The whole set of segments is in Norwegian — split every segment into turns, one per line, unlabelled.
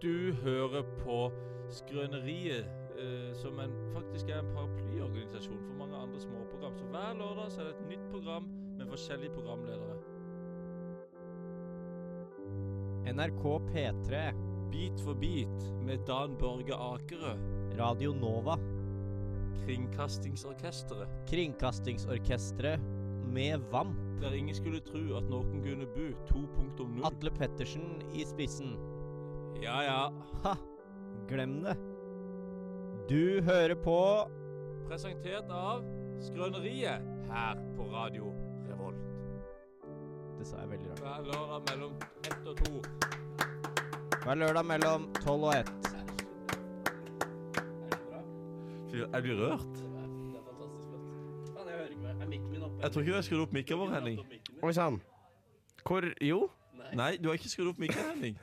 Du hører på Skrøneriet, eh, som en, faktisk er en paraplyorganisasjon for mange andre småprogram. Så hver lørdag så er det et nytt program med forskjellige programledere.
NRK P3,
Bit for bit med Dan Børge Akerø,
Radio Nova,
Kringkastingsorkesteret.
Kringkastingsorkestret med VAMP,
Der ingen skulle tro at noen kunne bo 2.0.
Atle Pettersen i spissen.
Ja ja.
Ha! Glem det. Du hører på
Presentert av Skrøneriet her på Radio Revolt.
Det sa jeg veldig rart.
Hver lørdag mellom ett og to.
Hver lørdag mellom tolv og ett.
Jeg blir rørt.
Det er fantastisk flott. Faen, jeg hører ikke meg. Er mikken min oppe?
Jeg tror ikke du har skrudd opp mikken vår, Henning.
Oi sann. Hvor Jo.
Nei, du har ikke skrudd opp mikken, Henning.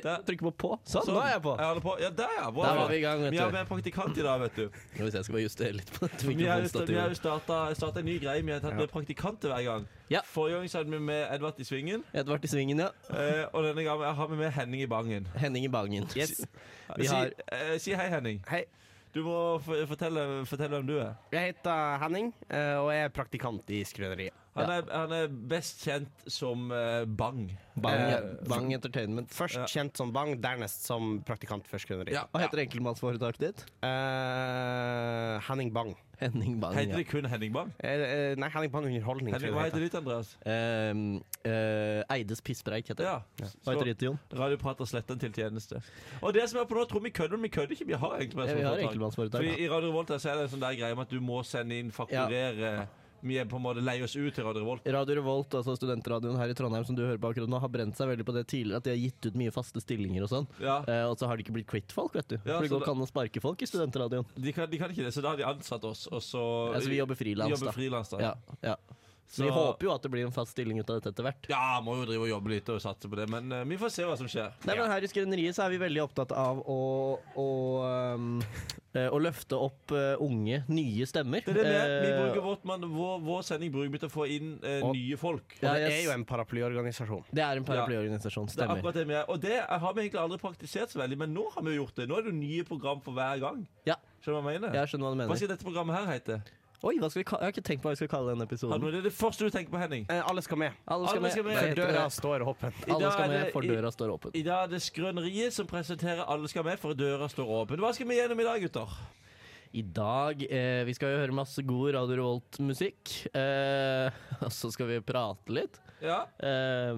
Der.
Trykk på på. Sånn,
Sånn.
nå er jeg på.
Jeg holder på. Ja, der, ja. Bra.
Der var vi i gang, vet
Vi har
du.
med en praktikant i dag, vet du.
Skal vi se, jeg skal bare justere litt på dette
Vi har jo sta- vi har jo
mikrofonstativet.
starta starta en ny greie. Vi har tatt med praktikanter hver gang.
Ja.
Forrige gang så hadde vi med Edvard i Svingen,
Edvard i svingen, ja.
eh, og denne gangen har vi med Henning i Bangen.
Henning i bangen.
Yes.
Vi har
si, eh, si hei, Henning.
Hei.
Du må f fortelle, fortelle hvem du er.
Jeg heter Henning, eh, og jeg er praktikant i skrøneriet.
Han, er, han er best kjent som eh, Bang.
Bang,
Eh,
bang Entertainment. Først
Ja.
kjent som Bang, dernest som praktikant for skrøneri.
Ja.
Hva heter enkeltmannsforetaket ditt?
Eh, Henning Bang.
Henning Bang.
Heter det kun Henning Bang?
Eh, eh, nei, Henning Bang Underholdning.
Henning, hva heter ditt, Andreas?
Ehm, eh, Eides pisspreik heter
Ja.
Hva heter ditt, Jon?
Radioprater sletten til tjeneste. Og det som er på nå, tror vi kødder, men vi kødder ikke. Vi har
Ja, vi har
enkeltmannsforetak.
enkeltmannsforetak.
Fordi I Radio Revolt her så er det en sånn der greie med at du må sende inn, fakturere Vi er på en måte lei oss ut til Radio Revolt.
Radio Revolt, altså studentradioen her i Trondheim som du hører på akkurat nå, har brent seg veldig på det tidligere, at de har gitt ut mye faste stillinger og sånn.
Ja.
Eh, og så har de ikke blitt kvitt-folk, vet du.
Ja,
For det går
så da-
ikke an å sparke folk i studentradioen.
De kan, de kan ikke det, så da har de ansatt oss, og så
Altså, vi jobber frilans,
jobber
da.
frilans, da.
Ja, ja. Så
Så-
vi håper jo at det blir en fast stilling ut av dette etter hvert.
Ja, må jo drive og jobbe litt og satse på det, men eh, vi får se hva som skjer.
Nei, men Her i Skrøneriet så er vi veldig opptatt av å, å, ehm, eh, å løfte opp eh, unge, nye stemmer.
Det er det med. Vi
Eh,
bruker vårt, man, vår, vår sending bruker vi til å få inn eh,
Og-
nye folk.
Og
Ja,
det
jeg-
er jo en paraplyorganisasjon.
det er en paraplyorganisasjon,
Det er
stemmer.
akkurat det vi er. Og det har vi egentlig aldri praktisert så veldig, men nå har vi jo gjort det. Nå er det jo nye program for hver gang.
Ja,
Skjønner du hva jeg mener?
jeg skjønner hva du
Hva
mener.
skal dette programmet her hete?
Oi, hva skal vi, ka- jeg har ikke tenkt på hva vi skal kalle den
Har du
episoden.
noe- Det er det første du tenker på, Henning.
Eh, alle skal med.
Alle skal
Alle skal
med,
med.
Hva heter
Døra
det?
står åpen.
I dag
Alle
er
skal med,
det-
for
i-
døra står åpen.
I dag er det Skrøneriet som presenterer Alle skal med, for døra står åpen. Hva skal vi gjennom i dag, gutter?
I dag eh, Vi skal jo høre masse god Radio Revolt-musikk. Eh, og så skal vi prate litt.
Ja.
Eh,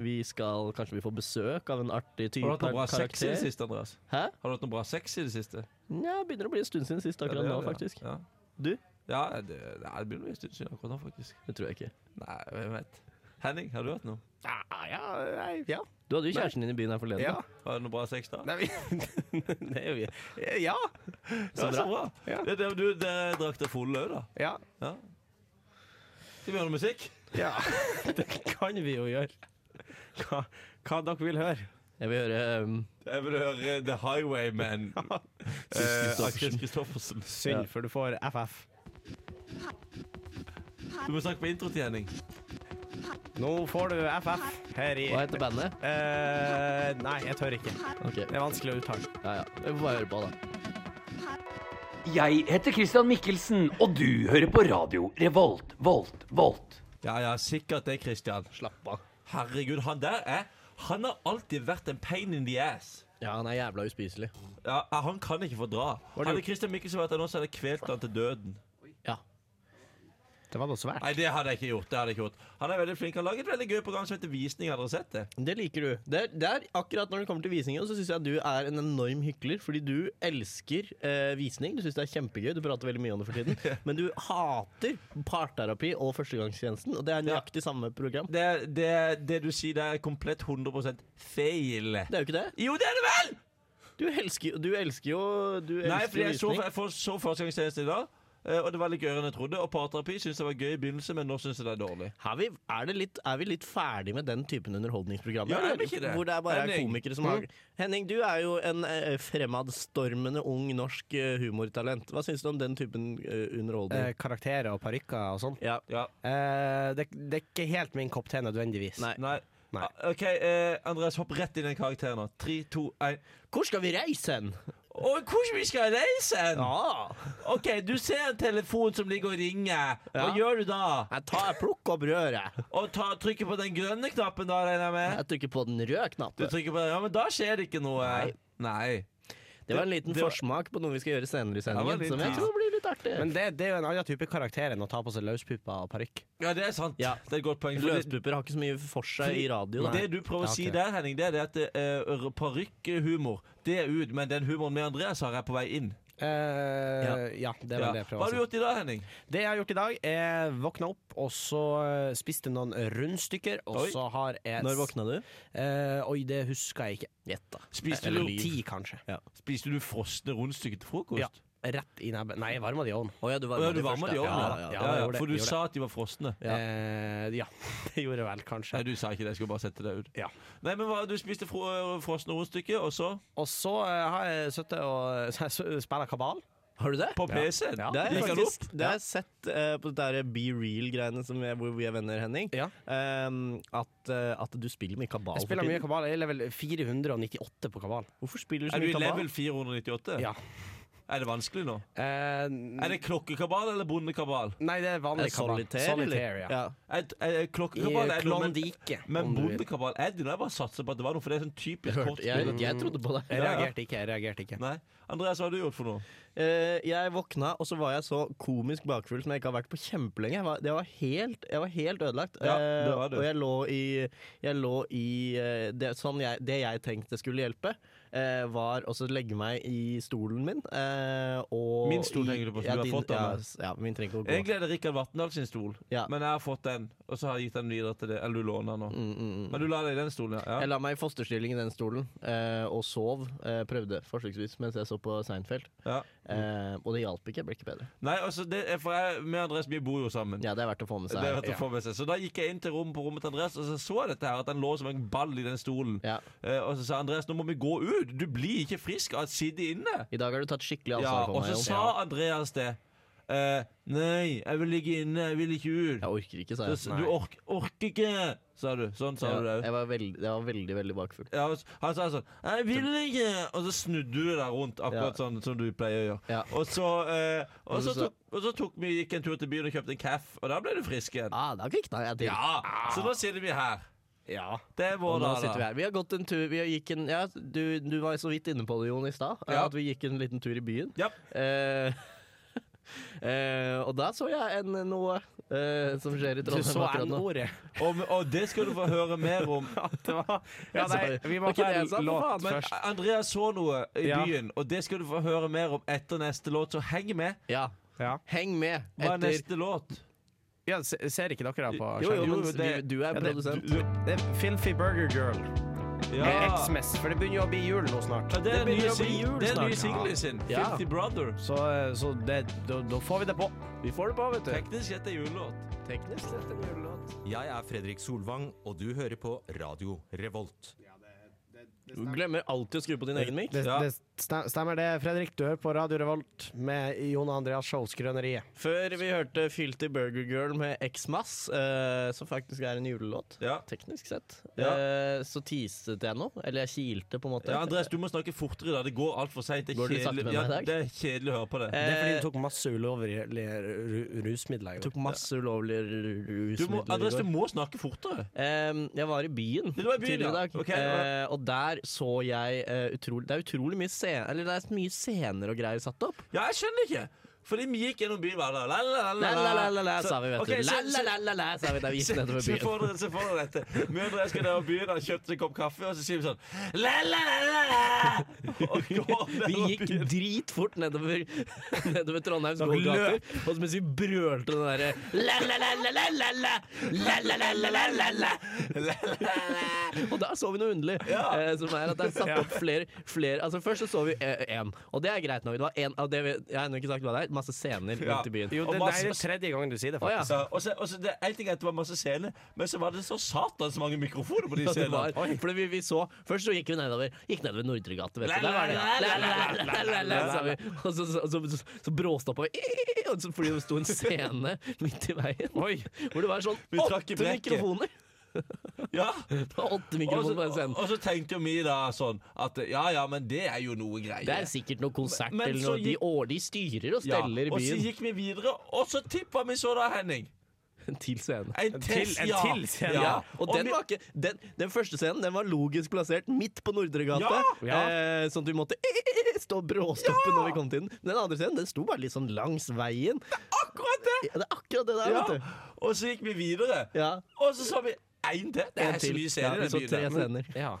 vi skal Kanskje vi får besøk av en artig type
Har du hatt noe bra sex i det
karakter.
siste, Andreas?
Hæ?
Har du hatt noe bra sex i det siste?
Nja, begynner å bli en stund siden sist akkurat nå,
Ja, det er det,
faktisk.
Ja.
Du?
Ja, Ja, det, ja, det begynner å bli en stund siden akkurat nå, faktisk.
Det tror jeg ikke.
Nei, hvem vet. Henning, har du hatt noe?
Ja, ja, nei, ja.
Du hadde jo kjæresten din i byen her forleden.
ja.
da.
Har du noe bra sex, da?
Nei, vi- det er jo vi. Ja.
Ja, så bra.
Ja.
Ja, det, du, dere drakk dere full òg, da?
Ja.
Ja. Skal vi høre noe musikk?
ja. Det kan vi jo gjøre. Hva, hva dere vil høre.
Jeg vil høre ehm,
Jeg vil høre The Highwayman. Eh, Aksel Kristoffersen.
Synd, for du får FF.
Du må snakke på intro til Henning.
Nå får du FF her i
Hva heter bandet?
Eh, Nei, jeg tør ikke.
Ok,
Det er vanskelig å uttale.
ja ja. Vi får bare høre på, da.
Jeg heter Christian Mikkelsen, og du hører på radio Revolt, Volt, Volt.
Ja, ja, sikkert det, Christian.
Slapp av.
Herregud, han der er Han har alltid vært en pain in the ass.
Ja, han er jævla uspiselig.
Ja, Han kan ikke få dra. Hadde Christian Mikkelsen vært her nå, så hadde jeg kvelt han til døden.
Ja.
Det var noe svært.
Nei, det hadde jeg ikke gjort. det hadde jeg ikke gjort Han er veldig flink. Han lager et veldig gøy program som heter Visning. Har dere sett det?
Det liker du. Det er, det er akkurat når det kommer til visningen, så syns jeg at du er en enorm hykler. Fordi du elsker eh, visning. Du syns det er kjempegøy. Du prater veldig mye om det for tiden. Men du hater parterapi og førstegangstjenesten, og det er nøyaktig samme program.
Det, det, det du sier der, er komplett 100 feil.
Det er jo ikke det.
Jo, det er det vel!
Du elsker, du elsker jo Du elsker
Nei, fordi jeg så,
visning.
jeg får- så førstegangstjeneste i dag, eh, og det var litt gøyere enn jeg trodde. Og parterapi syntes jeg var gøy i begynnelsen, men nå syns jeg det er dårlig.
Er vi, er, det litt, er vi litt ferdig med den typen underholdningsprogrammer?
Ja, er vi
eller?
ikke det?
Hvor det er bare er
Henning. Mm.
komikere som har Henning, du er jo en eh, fremadstormende ung norsk eh, humortalent. Hva syns du om den typen eh, underholdning?
Eh, karakterer og parykker og sånn.
ja.
Ja,
Eh, det, det er ikke helt min kopp te nødvendigvis.
Nei.
nei
Nei.
OK, eh, Andreas, hopp rett inn i den karakteren nå. Tre, to, én.
Hvor skal vi reise hen?
Å, hvor mye skal jeg reise hen?
Ja.
Ah!
OK, du ser en telefon som ligger og ringer. Hva
Ja.
gjør du da?
Jeg tar jeg plukker opp røret.
Og ta, trykker på den grønne knappen, da, regner jeg med?
Jeg trykker på den røde
Du
knappen.
trykker på den, ja, men da skjer det ikke noe.
Nei.
Nei.
Det var en liten
det var-
forsmak på noe vi skal gjøre senere i
var
sendingen.
litt
Som jeg
trist.
tror blir litt artig.
Men det, det er jo en annen type karakter enn å ta på seg løspupper og parykk.
Ja, det er sant.
Ja.
Det er et godt poeng. for det-
Løspuper har ikke så mye for seg i radio. Da.
Det du prøver å
Ja,
si
ok.
der, Henning, det er det at uh, parykkhumor, det er ut, men den humoren med Andreas har, er på vei inn.
Eh, ja. det er
Ja.
vel
Hva har
det jeg prøver
du
å si.
gjort i dag, Henning?
Det jeg har gjort i dag, er våkna opp, og så eh, spiste noen rundstykker, og
Oi.
så har jeg
Når våkna du?
Eh, oi, det husker jeg ikke.
Gjett, da.
Spiste
Eller
du,
ti, kanskje.
spiste du frosne rundstykker til frokost?
Ja. Rett i nebbet. Nei, varma de i ovnen.
Å ja, du
Å, ja, du varma de i ovnen? ja,
Ja, ja,
ja,
jeg
ja,
gjorde det,
For du
jeg gjorde
sa at de var frosne?
Ja. Eh, ja, det gjorde jeg vel
Nei,
kanskje.
du sa ikke det. Jeg skulle bare sette deg ut.
Ja.
Nei, men hva, Du spiste fro eh, frosne rundstykker, og så?
Og så eh, har jeg sittet og så har jeg spilla kabal.
Har du det?
På PC-en?
Ja.
Det har jeg
Gikk han opp?
faktisk det har jeg sett eh, på det der Be Real-greiene som er- hvor vi er venner, Henning.
Ja.
Ehm, at, eh, at du spiller mye kabal.
Jeg
for
spiller
tiden.
mye kabal. Jeg er level 498 på kabal.
Hvorfor spiller du så
Er du
mye
i
kabal?
level 498?
Ja.
Er det vanskelig nå?
Eh,
Er det klokkekabal eller bondekabal?
nei, det er
Er
vanlig
det
kabal.
solitaire,
Solitaire, ja.
ja.
Er, er, er
I
klokkekabal er noe, men,
Klondike.
men
om du vil.
bondekabal er det noe jeg bare satser på at det var noe, for det er sånn typisk
Jeg,
kort
hørte- jeg, jeg trodde på det.
Jeg reagerte ikke. Jeg reagerte ikke.
Nei. Andreas, hva har du gjort for noe?
Eh, jeg våkna, og så var jeg så komisk bakfull som jeg ikke har vært på kjempelenge. Jeg var, jeg var, helt, jeg var helt ødelagt.
Ja,
Eh,
det var du.
og jeg lå i, jeg lå i eh, det, sånn jeg, det jeg tenkte skulle hjelpe, eh, var å så legge meg i stolen min. eh, og
Min stol
i-
tenker du på, som
ja,
du har
din-
fått av
ja,
meg?
s- Ja, min trenger ikke å gå.
Egentlig er det Rikard Vatndal sin stol,
Ja.
men jeg har fått den. Og så har jeg gitt den videre til deg. Eller du låner den nå.
Mm, mm, mm.
Men du la deg i den stolen, ja.
Jeg la
ja.
meg i fosterstilling i den stolen eh, og sov. eh, prøvde forsøksvis mens jeg så på Seinfeld.
ja.
Eh, og det hjalp ikke. Jeg ble ikke bedre.
Nei, altså, det er for jeg, vi og Andreas vi bor jo sammen.
Ja, Det er verdt å få med
Det
seg.
er rett å få med seg. Så da gikk jeg inn til rommet på rommet til Andreas, og så så jeg dette her, at han lå som en ball i den stolen.
Ja.
Eh, og så sa Andreas nå må vi gå ut, du blir ikke frisk av å sitte inne.
I dag har du tatt skikkelig
Ja,
ansvar for
og
meg.
så
Jon.
sa Andreas det. Eh, nei, jeg vil ligge inne, jeg vil ikke ut.
Jeg orker ikke, sa
Så
jeg.
sa- du ork orker ikke, sa du. Sånn sa du det òg.
jeg, var veldig, jeg var veldig, veldig bakfull.
Ja, og s- han sa sånn 'Jeg vil ikke!' Og så snudde du deg rundt, akkurat
Ja.
sånn som du pleier å gjøre.
Ja.
Og så, eh, og
Og
så,
så-
tok, og så tok vi, gikk en tur til byen og kjøpte en caff, og da ble du frisk igjen.
Ah, da kvikna jeg til.
Ja, Så nå sitter vi her.
Ja.
Det er
Og nå
vår dag,
sitter vi
da.
her. Vi har gått en tur vi har gikk en, ja, du, du var så vidt inne på det, Jon, i stad.
Ja.
At vi gikk en liten tur i byen.
Ja.
Eh, eh, og da så jeg en, noe eh, som skjer i
Du
Trondheim
så
akkurat nå.
N-ordet.
Og, og det skal du få høre mer om.
Det var Ja, nei, vi må
Det var ikke
ta
det jeg
en
sa, for
låt
faen, men-
først.
Andreas så noe i
Ja.
byen, og det skal du få høre mer om etter neste låt, så heng med.
Ja.
Ja.
Heng med
Hva er
etter
neste låt?
Ja, se- ser ikke dere da på
Jo, jo,
skjermen?
men
Jo, jo, det-
du, du er
Ja, det-
produsent.
du- Det er Filthy Burger Girl med
Ja.
Xmas, for det begynner jo å bli jul nå snart.
Ja, det er
Det begynner
nye
å bli
sing-
jul
det er
snart.
nye singelen sin.
Ja.
50 Brother.
Så, eh, så det, da, da får vi det på.
Vi får det på, vet du.
Teknisk sett er julelåt.
Teknisk sett en julelåt.
Jeg er Fredrik Solvang, og du hører på Radio Revolt.
Du glemmer alltid å skru på din egen mic.
Det,
Ja.
det stem- stemmer det, Fredrik. Du hører på Radio Revolt med Jon Andreas Shows Grønneriet.
Før vi hørte Filty Burger Girl med X-Mass, eh, som faktisk er en julelåt.
Ja.
Teknisk sett.
Ja.
Eh, så teaset jeg nå. Eller jeg kilte, på en måte.
Ja, Andreas, du må snakke fortere. da Det går altfor seint. Det, er
Går det litt
kjedelig-
sakte med
ja,
meg i dag?
det er kjedelig å høre på det.
Det er fordi
Eh,
du tok masse ulovlige ru- rusmidler i
tok
går.
masse ulovlige ru-
Du må,
rusmidler i
Andreas, du
går.
må snakke fortere.
Em, jeg var i byen
Du var i byen,
tidligere i
ja.
dag,
Ok,
eh, og der så jeg eh, utrolig Det er utrolig mye scen- Eller det er mye scener og greier satt opp.
Ja, jeg skjønner ikke. Fordi vi gikk gjennom byen hver dag. La, la, la, la, la.
La-la-la-la,
Så-
sa vi, vet
ok,
du.
så- så-
La-la-la-la, sa vi da vi gikk nedover
Se
byen.
for dere, se for dere dette. Vi og Andreas skal ned på byen, han kjøpte seg en kopp kaffe, og så sier vi sånn la, la, la, la. Og går
Vi
nedover
gikk
byen.
dritfort nedover, nedover Trondheims gågater, og så mens vi brølte den derre la-la-la-la-la-la, la-la-la-la-la-la, Og der så vi noe underlig,
Ja.
eh, som er at det er satt opp flere, flere Altså Først så så vi én, og det er greit nok. Det var en, av det vi, jeg har ennå ikke sagt hva det er, masse scener
Ja.
rundt i byen.
Jo,
Og
det, det
masse-
er den tredje gangen du sier det,
Å ja.
faktisk.
Så- Og så, og så det, en ting er at det var masse scener, men så var det så satans mange mikrofoner på de
Ja, det
scenene.
var, fordi vi, vi så Først så gikk vi nedover Gikk nedover Nordre gate vet du. Der var det Lalalala, sa vi. Og så, så, så, så, så bråstoppa vi og så- Fordi det sto en scene midt i veien Hvor det var sånn
Vi trakk i
åtte
brekket.
mikrofoner
Ja.
Det var åtte
Og så,
mikrofoner på den
og,
scenen.
så tenkte jo vi da sånn at ja ja, men det er jo noe greier.
Det er sikkert noe konsert
Men
eller
så
noe. De,
gikk-
år, de styrer og
ja.
steller i
Og så
byen.
gikk vi videre, og så tippa vi så da, Henning.
Til scenen.
En,
til-
test,
en
ja.
til scene.
ja.
Ja, og den,
vi-
var ikke, den, den første scenen den var logisk plassert midt på Nordre gate.
Ja!
Eh, sånn at vi måtte stå bråstoppe når vi kom til den. Men Den andre scenen den sto bare litt sånn langs veien.
Akkurat det!
Ja, det er akkurat det der,
Ja.
vet du.
Og så gikk vi videre,
Ja,
og så sa vi én til. Det
en
er så
til.
mye
Ja,
scener i
vi så
den
tre
byen. der.
scener.
Ja.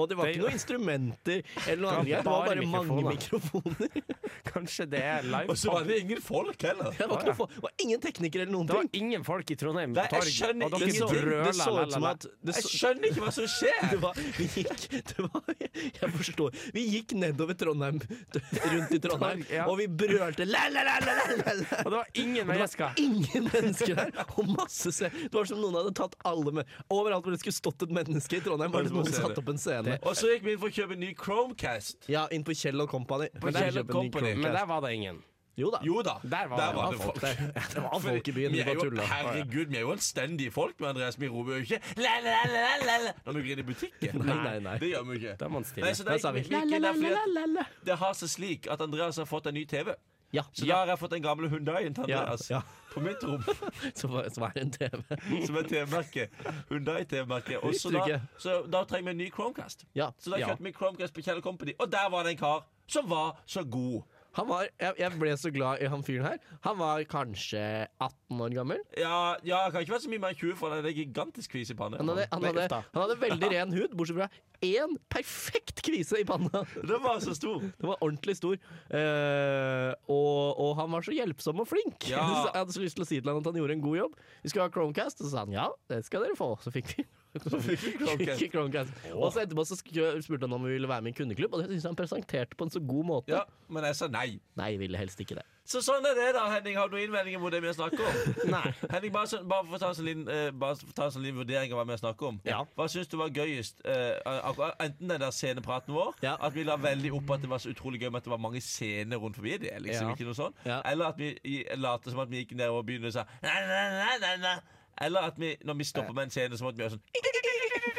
Og det var
Det-
ikke noen instrumenter eller noe annet.
Det
Det var
var
bare mange
bare
mikrofoner.
Kanskje det er live.
Og så var det ingen folk heller.
Det var, ikke noe, for- det var ingen teknikere eller noen
Det var
ting.
ingen folk i Trondheim.
Nei, jeg
Torg,
skjønner sånn.
og dere
ingenting. Det
brøler,
Det så
la, la,
ut som
la.
at det
Jeg
så,
skjønner ikke hva som skjer.
det var, vi gikk det var, Jeg forstår. Vi gikk nedover Trondheim, rundt i Trondheim,
Torg, ja.
og vi brølte la, la, la, la, la, la, la.
Og det var ingen
Det var
mennesker.
ingen mennesker der, og masse se. Det var som noen hadde tatt alle med. Overalt hvor det skulle stått et menneske i Trondheim, var det
Bare
noen som
på scene.
satt opp en scene.
Og så gikk vi inn for å kjøpe en ny Chromecast.
Ja, inn på Kjell og Company. Men der
Kjell og
kjøper en ny
Company.
Chromecast.
Men der var det ingen.
Jo da.
Jo da,
Der var det.
det var folk der. Det var folk i byen,
Vi
de
er
bare
jo,
tulla.
herregud, vi er jo anstendige folk, men Andreas, vi roper jo ikke la, la, la, la, la, la, når vi går inn i butikken.
Nei, nei, nei.
Det gjør vi ikke.
Da er man stille.
Nei, så det,
Da sa vi,
gikk vi ikke der, fordi at det har seg slik at Andreas har fått en ny TV.
Ja.
Så da har jeg fått den gamle Hundaien til
Ja,
Andreas
ja.
på mitt rom,
Så var så var det en TV.
som er TV-merket. Hundai-TV-merket. Og så
Visste du
da,
ikke?
så da trenger vi en ny Chromecast.
Ja.
Så da
Ja.
kjøpte vi Chromecast på Kjell Company, og der var det en kar som var så god.
Han var, jeg, jeg ble så glad i han fyren her. Han var kanskje 18 år gammel.
Ja, ja jeg kan ikke være så mye mer enn 20, for han er en gigantisk kvise i panne.
Han hadde, han
Nei,
hadde,
uff da.
han hadde veldig ren hud, bortsett fra én perfekt kvise i panna.
Den var så stor.
Den var ordentlig stor. Eh, og, og han var så hjelpsom og flink.
Ja.
Så jeg hadde så lyst til å si til han at han gjorde en god jobb. Vi skulle ha Chromecast, og så sa han ja, det skal dere få. Så fikk vi
Chromecast.
fikk Chromecast. Og så etterpå så sk- spurte han om vi ville være med i en kundeklubb, og det syns jeg han presenterte på en så god måte.
Ja, men jeg sa nei.
Nei, jeg ville helst ikke det.
Så sånn er det, da, Henning. Har du noen innvendinger mot det vi snakker om?
Nei.
Henning, bare, så, bare for å ta en sånn liten, eh, bare for å ta en sånn liten vurdering av hva vi snakker om.
Ja.
Hva syns du var gøyest? eh, akkurat- enten den der scenepraten vår,
Ja.
at vi la veldig opp at det var så utrolig gøy med at det var mange scener rundt forbi det,
Ja.
liksom, ikke noe sånn.
Ja.
Eller at vi i- later som at vi gikk nedover byen og sa nei, nei, nei, nei, nei. Eller at vi, når vi stopper med en scene, så måtte vi gjøre sånn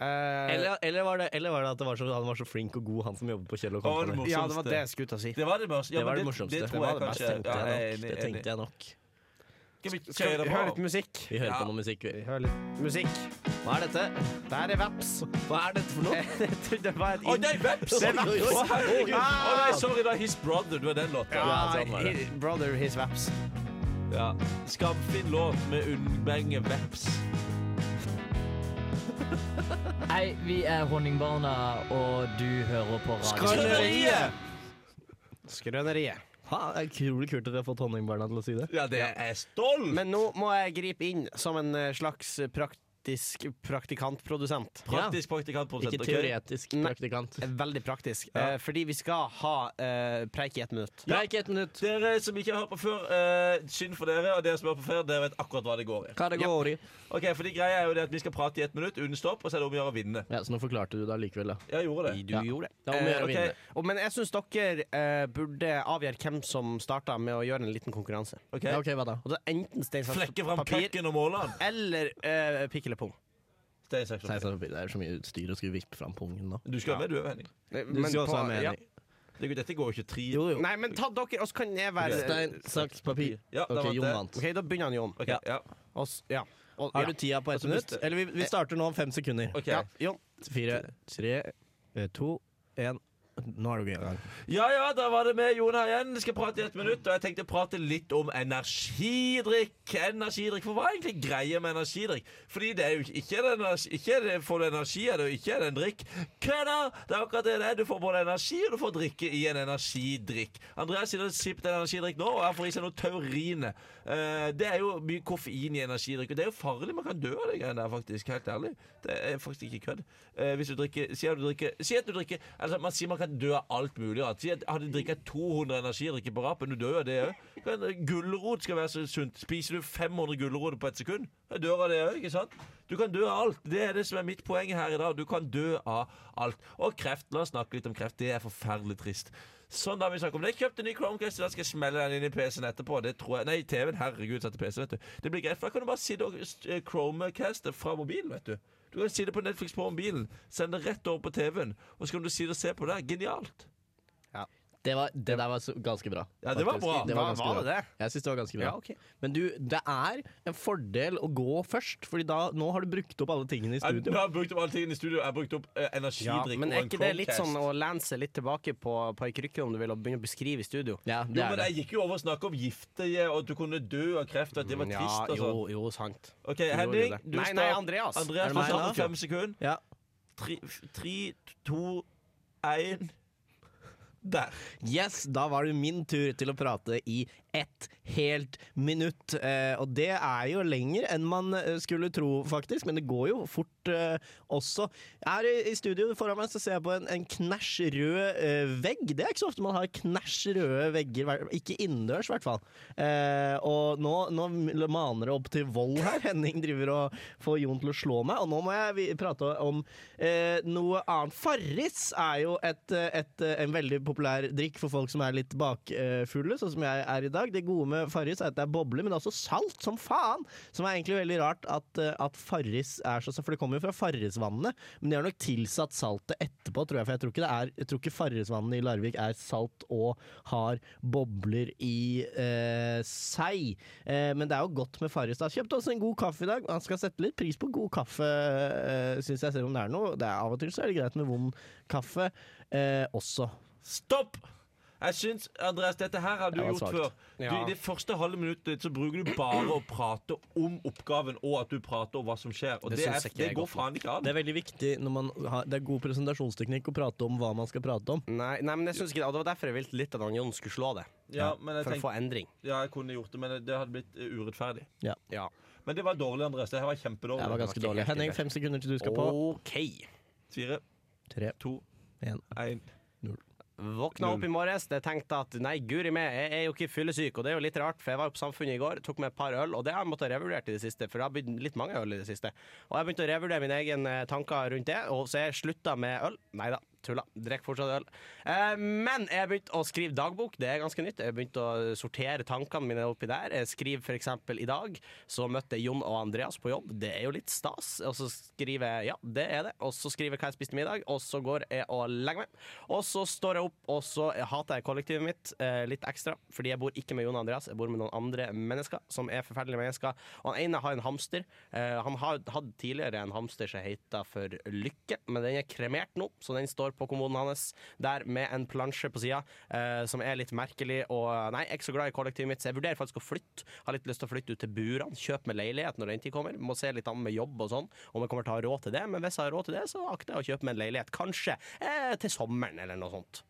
Eh,
Eller, eller, var det, eller var det at det var så, han var så flink og god, han som jobbet på Kjell og
Å, det
Company?
morsomste.
ja, det var det jeg skulle til å si.
Det var det, mors- ja,
Det
men
var det morsomste.
Det,
Det
tror
var
jeg
det beste,
kanskje.
tenkte
Ja,
jeg
jeg er
nok.
enig,
Det
enig.
tenkte jeg nok.
Skal vi
Skal
kjøre
vi
det
høre
på?
litt musikk?
Vi hører
Ja.
på noe musikk. vi.
Hør litt musikk.
Hva er dette?
Der er veps.
Hva er dette for noe?
Jeg trodde det var et
Å nei, veps!
Det er
Å,
veps.
herregud. Å, nei, sorry, da. His brother. Du er den låta.
Ah. Ja,
sånn var det.
he- brother, his veps.
Ja. Skamfin låt med unnmenge veps.
Hei, vi er Honningbarna, og du hører på radio.
Skrøneriet.
Ha, det er Utrolig kult at vi har fått honningbarna til å si det.
Ja, det er stolt!
Men nå må jeg gripe inn som en eh, slags praktisk praktikantprodusent.
Praktisk praktikantprodusent.
Ikke
ok?
teoretisk
Nei.
praktikant.
Veldig praktisk. Eh, fordi vi skal ha eh, preik i ett minutt.
Preik ett minutt.
Dere som ikke har hørt på før, eh, synd for dere. Og dere som har hørt på før, dere vet akkurat hva det går i.
Hva det går i?
Ok, for de greia er jo det at Vi skal prate i ett minutt, uten stopp, og så er det om å gjøre å vinne.
Ja, så nå forklarte du det allikevel, da.
Jeg gjorde det.
Du
Ja.
gjorde det.
Det er om å
Eh,
gjøre å
ok.
vinne.
og, men jeg syns dere eh, burde avgjøre hvem som starta med å gjøre en liten konkurranse.
Ok.
Ja, OK, hva da?
Og da Enten stein, saks,
Flekke fram
papir
kakken og måle den.
eller eh, pikk eller pung.
Stein,
Nei,
saks, papir.
så- Det er så mye styr å skulle vippe fram pungen nå.
Du skal være med, du òg, Henning.
Eh,
Du
men
skal
på-
også ha en
ja.
mening.
Det er jo- Dette går jo ikke tre
Jo, jo.
Nei, men ta dere, og så kan jeg være
Stein, saks, papir.
Ja, da
OK,
vant
Jon
jeg.
vant.
OK, da begynner han Jon.
Ok, ja.
Og s- ja. Og,
Har
ja.
du tida på ett
Altså,
minutt?
hvis det-
Eller vi, vi starter nå om fem sekunder.
Ok.
ja. Jon.
Fire, tre, eh, to, én. Nå er du i gang.
Ja ja, da var det med Jon her igjen. Jeg skal prate i ett minutt. Og jeg tenkte å prate litt om energidrikk. Energidrikk, For hva er egentlig greia med energidrikk? Fordi det er jo ikke- ikke, en energi, ikke er det, får du energi av det, og ikke er det en drikk. Hva da? Det er akkurat det det er. Du får både energi, og du får drikke i en energidrikk. Andreas sitter og sipper til en energidrikk nå, og jeg får i seg noe taurine. Eh, det er jo mye koffein i energidrikk, og det er jo farlig. Man kan dø av de greiene der, faktisk. Helt ærlig. Det er faktisk ikke kødd. Eh, hvis du drikker Si at du drikker Si at du drikker Altså, man sier man kan dør av alt mulig rart. Si at hadde drikket 200 energidrikker på rappen, du dør av det òg. Gulrot skal være så sunt. Spiser du 500 gulrot på et sekund, jeg dør av det òg, ikke sant? Du kan dø av alt. Det er det som er mitt poeng her i dag. Du kan dø av alt. Og kreft. La oss snakke litt om kreft. Det er forferdelig trist. Sånn, da har vi snakket om det. Jeg kjøpte en ny Chromecast, i dag skal jeg smelle den inn i PC-en etterpå. Det tror jeg Nei, TV-en. Herregud, satte PC, vet du. Det blir greit, for da kan du bare sitte og eh, Chromecaste fra mobilen, vet du. Du kan sitte på Netflix på mobilen, sende det rett over på TV-en, og så kan du sitte og se på det. Genialt.
Det, var, det der var så, ganske bra.
Ja, det var
faktisk.
bra.
Det var, ganske bra.
det?
Jeg syns det var ganske bra.
Ja, ok.
Men du, det er en fordel å gå først, Fordi da, nå har du brukt opp alle tingene i
Jeg,
studio.
jeg har brukt opp alle tingene i studio. Jeg har brukt opp eh,
Ja,
energidrikk
men
og
er
en
ikke det litt
Chromecast.
sånn å lene seg litt tilbake på, på ei krykke, om du vil, og begynne å beskrive i studio?
Ja, det
Jo,
er
men
det.
jeg gikk jo over og snakket om giftige, og at du kunne dø av kreft, og at det var
Mm, Ja,
trist og
jo,
sånn.
jo, sant.
OK,
jo,
Henning.
det.
Du
Nei,
start-
nei, Andreas.
Andreas
Er det
får
meg
starte
nå?
om fem sekunder.
Ja.
Tre, tre, to, én Der.
Yes, da var det min tur til å prate i ett helt minutt. Eh, og det er jo lenger enn man eh, skulle tro, faktisk, men det går jo fort eh, også. Her i, i studio foran meg så ser jeg på en, en knæsj rød eh, vegg. Det er ikke så ofte man har knæsj røde vegger, hver- ikke innendørs i hvert fall. Eh, og nå, nå maner det opp til vold her. Henning driver og får Jon til å slå meg, og nå må jeg vi- prate om eh, noe annet. Farris er jo et, eh, et, eh, en veldig populær drikk for folk som er litt bakfulle, sånn som jeg er i dag. Det gode med Farris er at det er bobler, men det er også salt som faen. Som er egentlig veldig rart at, eh, at Farris er så For det kommer jo fra Farrisvannet, men de har nok tilsatt saltet etterpå, tror jeg. For jeg tror ikke, det er- jeg tror ikke Farrisvannet i Larvik er salt og har bobler i eh, seg. Eh, men det er jo godt med Farris. da. Kjøpte også en god kaffe i dag. Man skal sette litt pris på god kaffe, eh, syns jeg, selv om det er noe. Det er Av og til så er det greit med vond kaffe eh, også.
Stopp! Jeg syns, Andreas, dette her har du
Det var
gjort
svagt.
før. Du,
Ja.
I det første halve minuttet ditt så bruker du bare å prate om oppgaven, og at du prater om hva som skjer. Og
Det
det,
syns
er,
ikke
det
jeg er
går
godt
faen ikke
Det
an.
er veldig viktig når man har Det er god presentasjonsteknikk å prate om hva man skal prate om.
Nei, nei, men jeg synes ikke det. Og det var derfor jeg ville litt at han Jon skulle slå det.
Ja, men jeg
For å
tenkte,
få endring.
ja, jeg kunne gjort det, men det hadde blitt eh, urettferdig.
Ja.
Men det var dårlig, Andreas. Det her var
Det
kjempedårlig.
var
ikke
ganske dårlig.
helt
Henning,
ideelt.
fem sekunder til du skal på.
OK.
Fire,
Tre,
to,
en.
én
Våkna opp i morges, det tenkte at nei, guri meg, jeg er jo ikke fyllesyk. Og det er jo litt rart, for jeg var jo på Samfunnet i går, tok med et par øl, og det har jeg måttet revurdere i det siste, for det har blitt litt mange øl i det siste. Og jeg begynte å revurdere mine egne tanker rundt det, og så jeg slutta med øl. Nei da, tulla. Drikker fortsatt øl. Eh, men jeg begynte å skrive dagbok, det er ganske nytt. Jeg begynte å sortere tankene mine oppi der. Jeg skriver for eksempel i dag, så møtte jeg Jon og Andreas på jobb. Det er jo litt stas. Og så skriver jeg ja, det er det. Og så skriver jeg hva jeg spiste til middag, og så går jeg og legger meg. Og så står jeg opp, og så hater jeg kollektivet mitt eh, litt ekstra, fordi jeg bor ikke med Jon og Andreas, jeg bor med noen andre mennesker som er forferdelige mennesker. Og han ene har en hamster. Eh, han har hatt tidligere en hamster som heter for Lykke, men den er kremert nå, så den står på kommoden hans der med en plansje på sida, eh, som er litt merkelig. Og eh, nei, jeg er ikke så glad i kollektivet mitt, så jeg vurderer faktisk å flytte. Har litt lyst til å flytte ut til burene, kjøpe meg leilighet når den tid kommer. Må se litt an med jobb og sånn, om jeg kommer til å ha råd til det. Men hvis jeg har råd til det, så akter jeg å kjøpe meg en leilighet, kanskje eh, til sommeren eller noe sånt.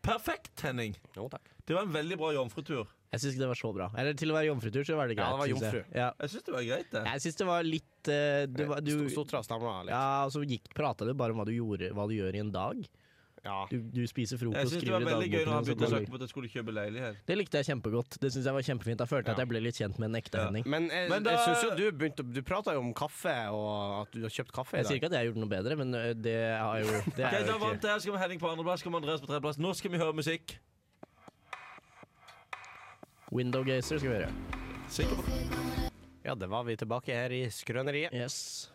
Perfekt, Henning.
Jo, takk.
Det var en veldig bra jomfrutur.
Jeg syns ikke det var så bra. Eller til å være jomfrutur, så var det greit.
Ja, det var
synes jeg.
jomfru.
Ja.
Jeg syns det var greit, det.
Jeg syns det var litt eh, du, var- du,
Sto- Stotra og stamma litt.
Ja, altså gikk, pratet du bare om hva du, gjorde, hva du gjør i en dag?
Ja.
Du, du spiser frokost,
Jeg syns det
skriver
var
i
veldig gøy når han
dagboken
begynte
din, og så går
å snakke
du.
om at jeg skulle kjøpe leilighet.
Det likte jeg kjempegodt. Det synes jeg var kjempefint. Da følte jeg at jeg ble litt kjent med en ekte Henning.
Men jeg,
Men da-
jeg syns jo du begynte Du prata jo om kaffe, og at du har kjøpt kaffe i
Jeg sier
dag.
ikke at jeg har gjort noe bedre, men ø, det har jo det
Ok,
er
da
jo
vant
ikke.
jeg. Så kommer Henning på andreplass, så kommer Andreas på tredjeplass. Nå skal vi høre musikk.
Windowgazer skal vi gjøre.
Ja, det var vi tilbake her i Skrøneriet.
Yes.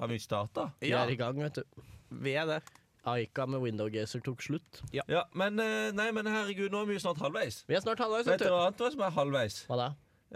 Har vi starta?
Vi
Ja,
er i gang, vet du.
vi er det.
Aika med windowgazer tok slutt.
Ja, men eh, Nei, men herregud, nå er vi jo snart halvveis.
Vi er snart halvveis,
Vet
vet
dere
du.
hva annet som er halvveis?
Hva da?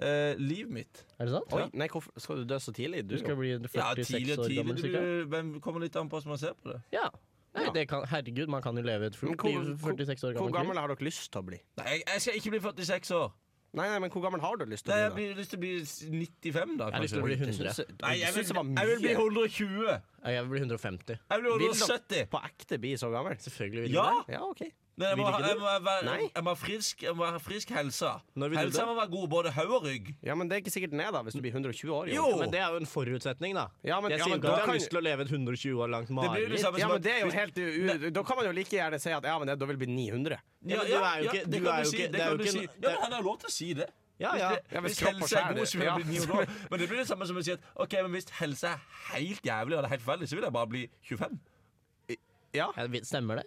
Eh, livet mitt.
Er det sant?
Oi, nei, hvorfor skal du dø så tidlig?
Du skal bli
Ja,
46
tidlig og
år
tidlig.
gammel,
Det
sikkert.
blir- men kommer litt an på hvordan man ser på det.
Ja. Nei, det kan, herregud, man kan jo leve et fullt
Men hvor-
liv. 46 år
Hvor
gammel.
gammel
krig.
har dere lyst til å bli?
Nei, jeg, jeg skal ikke bli 46 år.
Nei, nei, men hvor gammel har du lyst til
Nei,
å
jeg
bli?
blir lyst til å bli 95, da,
Jeg har lyst til å
kanskje.
bli
da? Jeg synes-
100.
du
Nei, jeg
synes
vil,
det var
jeg vil bli
mye.
120.
Jeg vil bli 150.
Jeg vil bli
Vil dere
170.
På ekte bli så gammel?
Selvfølgelig vil
Ja!
Ja, ok.
Nei, Men jeg må,
Vil
ha,
ikke
jeg
du?
må, være,
Nei.
jeg må ha frisk, jeg må ha frisk helse.
Når vil du
Helsa
det?
må være god, både hode og rygg.
Ja, men det er ikke sikkert den er, da, hvis du blir 120 år.
Jo!
Men det er jo en forutsetning, da.
Ja, men-
jeg
ja,
sier
men
ikke
da
at jeg har
kan-
lyst til å leve et 120 år langt
Det blir jo det
mareritt.
samme
Ja,
som
men
at-
det er jo
hvis-
helt u... u- Da kan man jo like gjerne si at ja, men det, da vil det bli 900.
Ja, men du er jo ikke-
det
du
kan
er jo
si,
ikke-
det
det er jo
kan du
ikke-
si. Ja, men han har lov til å si det.
Ja, ja.
Hvis,
Ja,
det,
hvis
hvis
kropp og
helse er
sjel-
god, så vil jeg bli
ja.
900 år. Men det blir det samme som å si at Ok, men hvis helse er helt jævlig og det er helt forferdelig, så vil jeg bare bli 25.
Ja, vi- Stemmer det?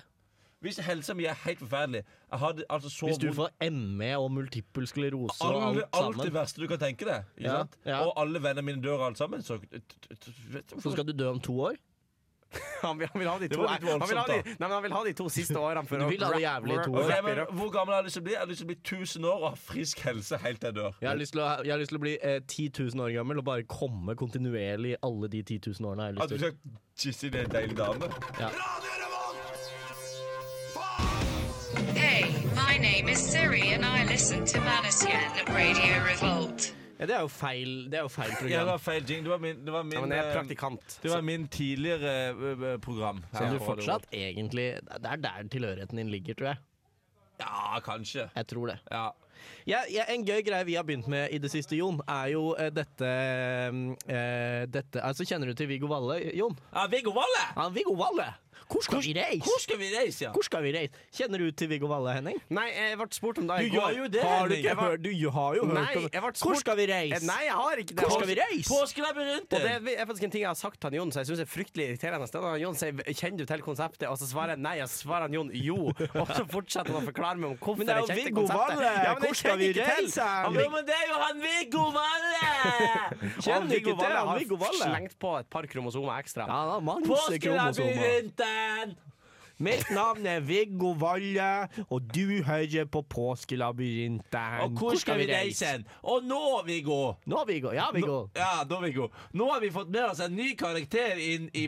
Hvis helsa mi er helt forferdelig Jeg har det altså så
Hvis du
vondt-
får ME og multippel sklerose og
alle,
alt
alt det
sammen,
verste du kan tenke deg, ikke
Ja,
sant?
ja.
og alle vennene mine dør alt sammen, så t- t- t- vet du
så
hvorfor-
skal du dø om to år?
Han vil, han vil ha de
Det
to
var litt
han vil ha
voldsomt,
de, nei, men han vil ha de to siste årene. For
Du
å
vil ha det
wrap-
jævlig i to
wrap-
år.
Ok,
wrap
men
it up.
Hvor gammel har jeg lyst til å bli? Jeg har lyst til å bli 1000 år og ha frisk helse helt til jeg dør.
Jeg har lyst til å, jeg har lyst til å bli eh, 10 000 år gammel og bare komme kontinuerlig alle de 10 000 årene. Jeg har
At du
lyst til.
skal kysse i en deilig dame.
Hey, my name is Siri and I listen to Manasian at Radio Revolt.
Ja, det er jo feil, det er jo feil
Ja, det
program.
var feil jing. Det var min, det var min,
Ja, men jeg er
eh,
praktikant.
det var min tidligere eh, eh, program.
Som
her
du
på Radio
fortsatt egentlig Det er der tilhørigheten din ligger, tror jeg.
Revolt. Ja, kanskje.
Jeg tror det.
Ja.
Ja, ja, en gøy greie vi har begynt med i det siste, Jon, er jo eh, dette, eh, dette Altså, kjenner du til Viggo Valle, Jon?
Ah, Viggo Valle!
Ja, Viggo Valle! Hvor skal vi
Hvor
reise?
skal vi reise, ja?
Hvor skal vi reise? Kjenner du til Viggo Valle, Henning?
Nei, jeg ble spurt om det i
Du
går.
gjør jo det,
Har du
Henning.
ikke hørt?
du har jo
Nei, jeg ble spurt Eh,
Hvor skal vi reise?
Nei, jeg har ikke det.
Hvor skal vi reise?
Og det
Påskelabyrinten!
er er faktisk en ting jeg har sagt til han Jon, som jeg syns er fryktelig irriterende. Det er når Jon sier 'Kjenner du til konseptet?' og så svarer jeg nei, og så svarer han Jon 'jo'. Og så fortsetter han å forklare meg om hvorfor
Men det er
jeg
jo
kjente
Viggo
konseptet.
Valle.
Ja, men jeg
Hvor skal
kjenner
vi
ikke til.
reise?
Han
Jo, men det er jo han Viggo Valle!
Han
Kjenner du
Viggo
ikke til
Valle
han
har
Viggo Valle?
slengt på et par kromosomer ekstra.
Ja, han har mange kromosomer.
Påskelabyrinten!
Mitt navn er Viggo Valle, og du hører på Påskelabyrinten.
Og hvor skal vi reise hen? Og nå, Viggo
Nå, Viggo. Ja, Viggo.
Nå- Ja, nå, Viggo. Nå har vi fått med oss en ny karakter inn i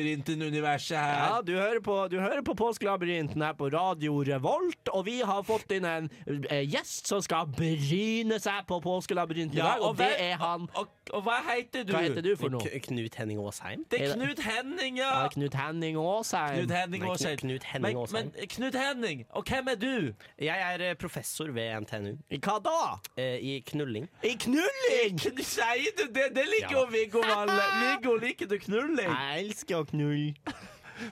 påskelabyrinten-universet her.
Ja, du hører på, du hører på Påskelabyrinten her på Radio Revolt, og vi har fått inn en eh, gjest som skal bryne seg på Påskelabyrinten i dag, og, det
hvem-
er han.
Og, og hva heter du?
Hva heter du for noe?
K- Knut Henning Aasheim?
Det
Er
er
det-
Knut Henning, ja.
Ja, Knut Henning Aasheim.
Knut Henning
Nei, Knu-
Aasheim.
Knut Henning
Men-
Aasheim.
Men Knut Henning, og hvem er du?
Jeg er eh, professor ved NTNU
Hva da?
eh, i knulling.
I knulling!
Kn- Sier du det? Det liker jo Viggo Valle. Viggo liker du knulling.
Jeg elsker å knulle.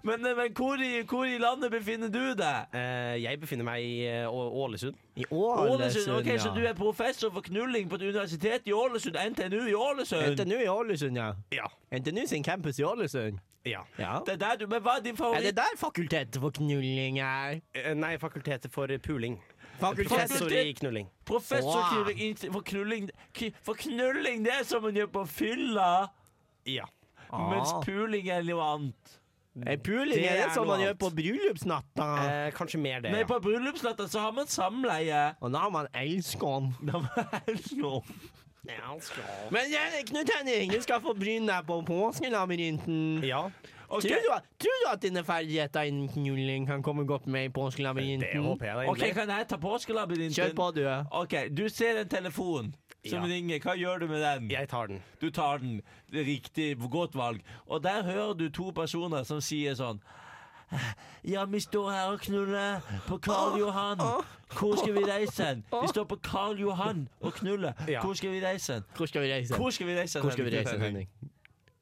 Men, eh, men hvor, i, hvor i landet befinner du deg?
Eh, jeg befinner meg i eh, Å- Ålesund.
I Ålesund,
Ålesund, ok, Så du er professor for knulling på et universitet i Ålesund? NTNU i Ålesund?
NTNU i Ålesund, ja.
Ja.
NTNU sin campus i Ålesund.
ja.
Ja.
Det er der du, men hva er din
Er det
favoritt?
der fakultetet for knulling er?
Eh, Nei, Fakultetet for puling.
Fakultet
Professor i knulling.
Professor
Wow.
knulling, in- for knulling k- For knulling, det er som man gjør på fylla,
Ja.
mens puling er noe annet.
Eh, Puling
Det
er det
er
som
noe
man gjør
annet.
på bryllupsnatta.
Eh, kanskje mer det.
Ah. Nei,
ja.
på bryllupsnatta så har man samleie.
Og da har man elskeren.
Da må jeg nå-
Men eh, Knut Henning, du skal få bryne deg på påskelabyrinten.
Ja,
Ok,
Tror, du, at- tror du at dine ferdigheter innen knulling kan komme godt med i
det
påskelabyrinten?
håper jeg da
ok,
egentlig.
kan jeg ta påskelabyrinten?
Kjør på, du.
Ok, du ser en telefon som
Ja.
ringer. Hva gjør du med den?
Jeg tar den.
Du tar den. Det er Riktig. Godt valg. Og der hører du to personer som sier sånn ja, vi står her og knuller på Karl Johan. Hvor skal vi reise hen? Vi står på Karl Johan og knuller.
Ja.
Hvor skal vi reise hen?
Hvor skal vi reise?
Hvor skal vi reise hen?
Hvor skal vi reise,
Henning?
Henning?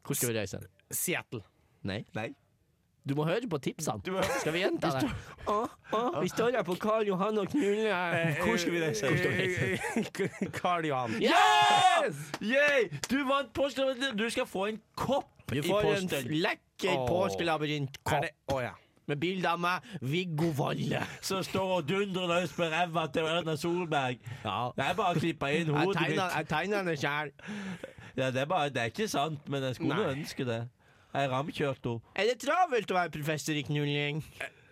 Hvor skal vi reise?
Seattle.
Nei.
Nei.
Du må høre på tipsene. Skal vi gjenta det? Å, å, vi står her på Karl Johan og knuller.
Hvor skal vi reise?
Hvor skal vi reise?
Karl Johan.
Yes!
Yay! Du vant påskelabyrinten. Du skal få en kopp
Du
i
får en
posten.
lekker
Åh. Er
påskelabyrintkort
det Å ja.
med bilde av meg, Viggo Valle.
Som står og dundrer løs på ræva til Erna Solberg.
Ja.
Det er bare å klippe
Jeg
inn hodet mitt.
tegner jeg tegner det sjæl.
Ja, det er, bare, det er ikke sant, men jeg skulle
Nei.
ønske det. Jeg ramkjørte henne.
Er det travelt å være professor i knulling?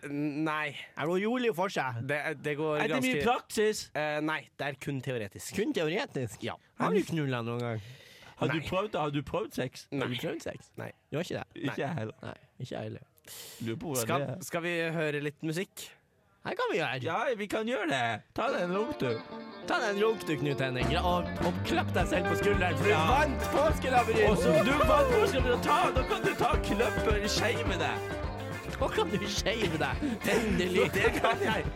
N- Nei,
Er det rolig for seg?
det, det går
Er det mye
ganske
praksis?
Eh, Nei, det er kun teoretisk.
Kun teoretisk.
Ja.
Har du knulla noen gang?
Har du
Nei.
prøvd, har du prøvd sex?
Har du
Nei.
prøvd sex?
Nei.
Du har ikke det?
Ikke jeg heller.
Nei, ikke jeg heller.
Lurer på hvordan
Skal,
det er.
skal vi høre litt musikk?
Her kan vi gjøre.
Ja, vi kan gjøre det. Ta den langt, du.
Ta deg en runk, du, Knut Henning, og, og klapp deg selv på skulderen, for du
Ja.
vant påskelabyrinten!
Og som du vant, nå skal vi ta, nå kan du ta kløppen i skei med deg.
Nå kan du shave deg! Endelig.
Det kan jeg.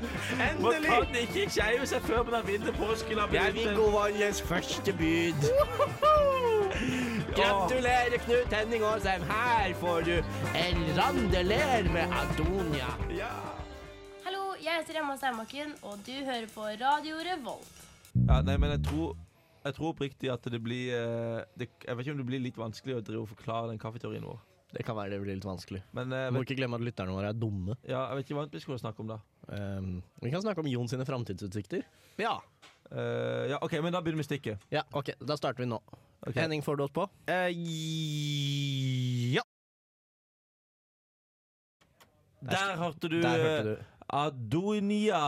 Man kan ikke skeive seg før man har vunnet påsken. av
Det er
bedriften.
Viggo Valles første bud. Gratulerer, Knut Henning Aasheim. Her får du en randeler med Adonia.
Hallo, jeg heter Emma Steinbakken, og du hører på Radio Revolt.
Ja, nei, men jeg tror jeg tror oppriktig at det blir eh, det, Jeg vet ikke om det blir litt vanskelig å drive og forklare den kaffeteorien vår.
Det kan være det blir litt vanskelig.
Men eh, jeg
Må
vet,
ikke glemme at lytterne våre er dumme.
ja, jeg vet ikke hva annet vi skulle snakke om da.
Ehm, vi kan snakke om Jon sine framtidsutsikter.
Ja.
Eh, ja, OK, men da begynner vi stikket.
Ja, ok, Da starter vi nå.
Ok.
Henning, får du oss på?
Eh, ja.
Der hørte du,
Der hørte du.
eh, Adonia.